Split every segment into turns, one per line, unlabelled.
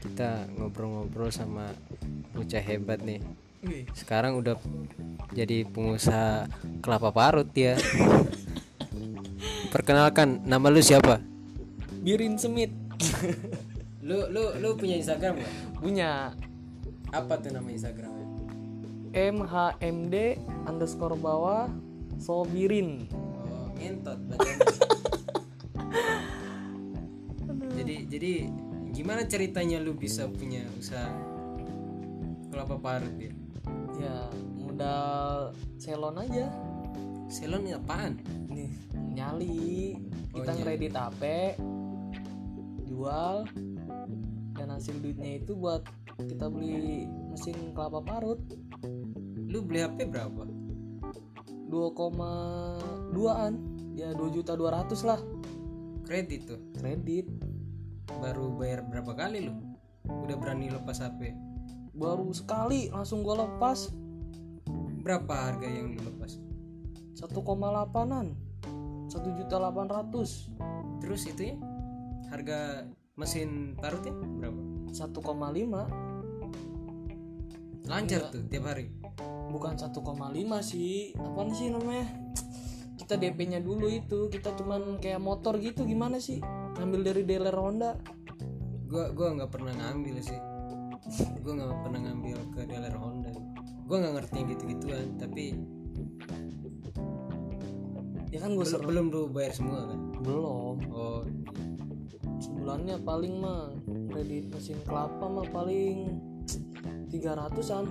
kita ngobrol-ngobrol sama bocah hebat nih
Wih,
sekarang udah jadi pengusaha kelapa parut ya perkenalkan nama lu siapa
Birin Semit
lu lu lu punya instagram nggak
punya
apa tuh nama instagramnya
MHMD underscore bawah Sobirin
oh ngentot bacanya. jadi jadi gimana ceritanya lu bisa punya usaha kelapa parut ya
ya modal selon aja
selon ini apaan
nih nyali kita
nyali.
ngeredit HP jual dan hasil duitnya itu buat kita beli mesin kelapa parut
lu beli hp berapa
2,2an ya 2 juta 200 lah
kredit tuh
kredit
baru bayar berapa kali lu udah berani lepas hp
baru sekali langsung gua lepas
berapa harga yang lu lepas
1,8an 1 juta 800
Terus itu ya harga mesin parutnya berapa?
1,5
Lancar tuh tiap hari.
bukan 1,5 sih apaan sih namanya kita DP nya dulu itu kita cuman kayak motor gitu gimana sih ngambil dari dealer Honda
Gua gua nggak pernah ngambil sih. Gua nggak pernah ngambil ke dealer Honda. Gua nggak ngerti gitu-gituan, tapi
ya kan gue
belum
ser
belum lu bayar semua kan.
belum
Oh,
sebulannya paling mah kredit mesin kelapa mah paling 300an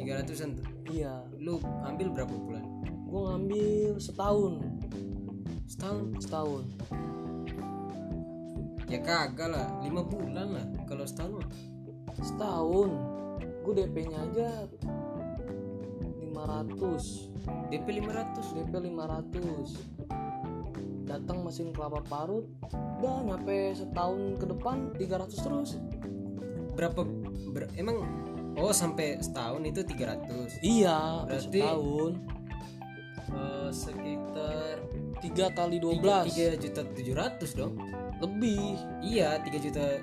300-an tuh.
iya
Lu ambil berapa bulan?
gue ngambil setahun
Setahun.
setahun
Ya kagak lah, 5 bulan lah kalau setahun mah.
setahun gue DP nya aja 500
DP 500.
DP 500 datang mesin kelapa parut udah nyampe setahun ke depan 300 terus
Berapa ber- emang oh sampai setahun itu 300.
iya
Berarti-
setahun
Eh, sekitar
3 kali 12
3 juta 700 dong.
lebih Iya,
Iya,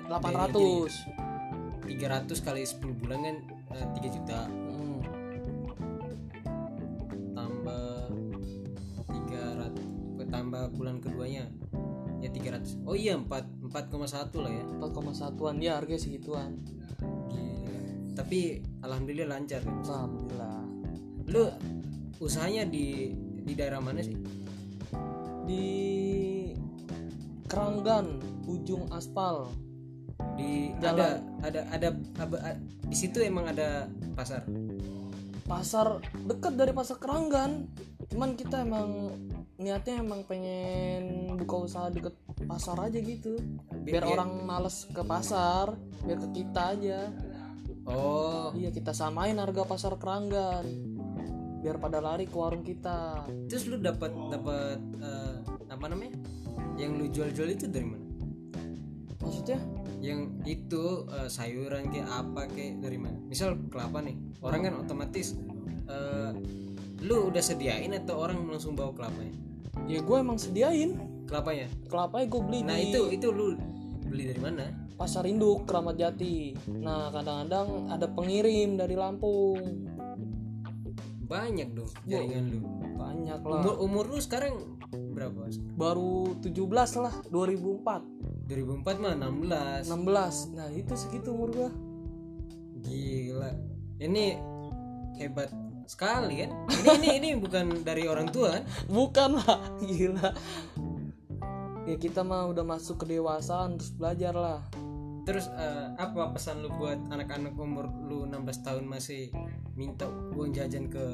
3 juta
800
Gini, 300 kali 10 bulan kan eh, 3 juta
Hmm,
tambah 300 tambah bulan keduanya ya 300. Oh iya, 4 4,1 lah ya.
4,1an ya harga segituan
Gila. Tapi alhamdulillah lancar kan.
Alhamdulillah
Lu usahanya di di daerah mana sih?
di Keranggan ujung aspal
Di
Jalan.
ada ada ada ab- a- di situ emang ada pasar.
pasar dekat dari pasar Keranggan cuman kita emang niatnya emang pengen buka usaha deket pasar aja gitu biar
Bi-
orang males ke pasar biar ke kita aja
Oh,
iya kita samain harga pasar Keranggan biar pada lari ke warung kita
terus lu dapat dapat eh, apa namanya? Yang lu jual-jual itu dari mana?
maksudnya
yang itu eh, sayuran kayak apa kayak dari mana misal kelapa nih orang kan otomatis eh, lu udah sediain atau orang langsung bawa kelapanya
ya gue emang sediain
kelapanya
kelapanya gue beli
nah
di
itu itu lu beli dari mana
pasar induk Keramat Jati nah kadang-kadang ada pengirim dari Lampung
banyak dong jaringan lu
banyak lah
umur umur lu sekarang berapa
baru 17 lah 2004
2004 mah 16
16 nah itu segitu umur gua
gila ini hebat sekali kan ini ini ini bukan dari orang tua kan
bukan lah gila ya kita mah udah masuk kedewasaan terus belajar lah
Terus eh, apa pesan lu buat anak-anak umur lu 16 tahun masih minta uang jajan ke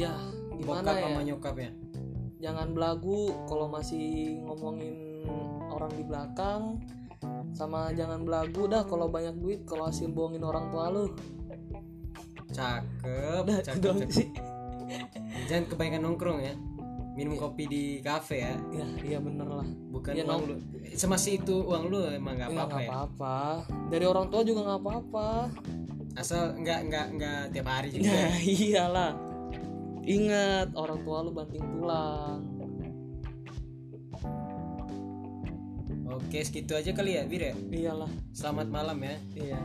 ya gimana
bokap
ya
sama nyokapnya?
jangan belagu kalau masih ngomongin orang di belakang sama jangan belagu dah kalau banyak duit kalau hasil bohongin orang tua lu
Cakep,
Udah,
cakep,
doang
cakep.
sih.
Jangan kebanyakan nongkrong ya. Minum kopi di kafe ya,
ya iya bener lah
bukan
Iya,
uang lu. Semasih itu uang lu emang nggak
Ya,
apa-apa
nggak
ya.
apa-apa dari orang tua juga nggak apa-apa
Asal nggak nggak nggak tiap hari juga.
ya iyalah ingat orang tua lu banting tulang
Oke, Oke, segitu aja kali ya, Bir ya.
iyalah
Selamat malam ya.
iya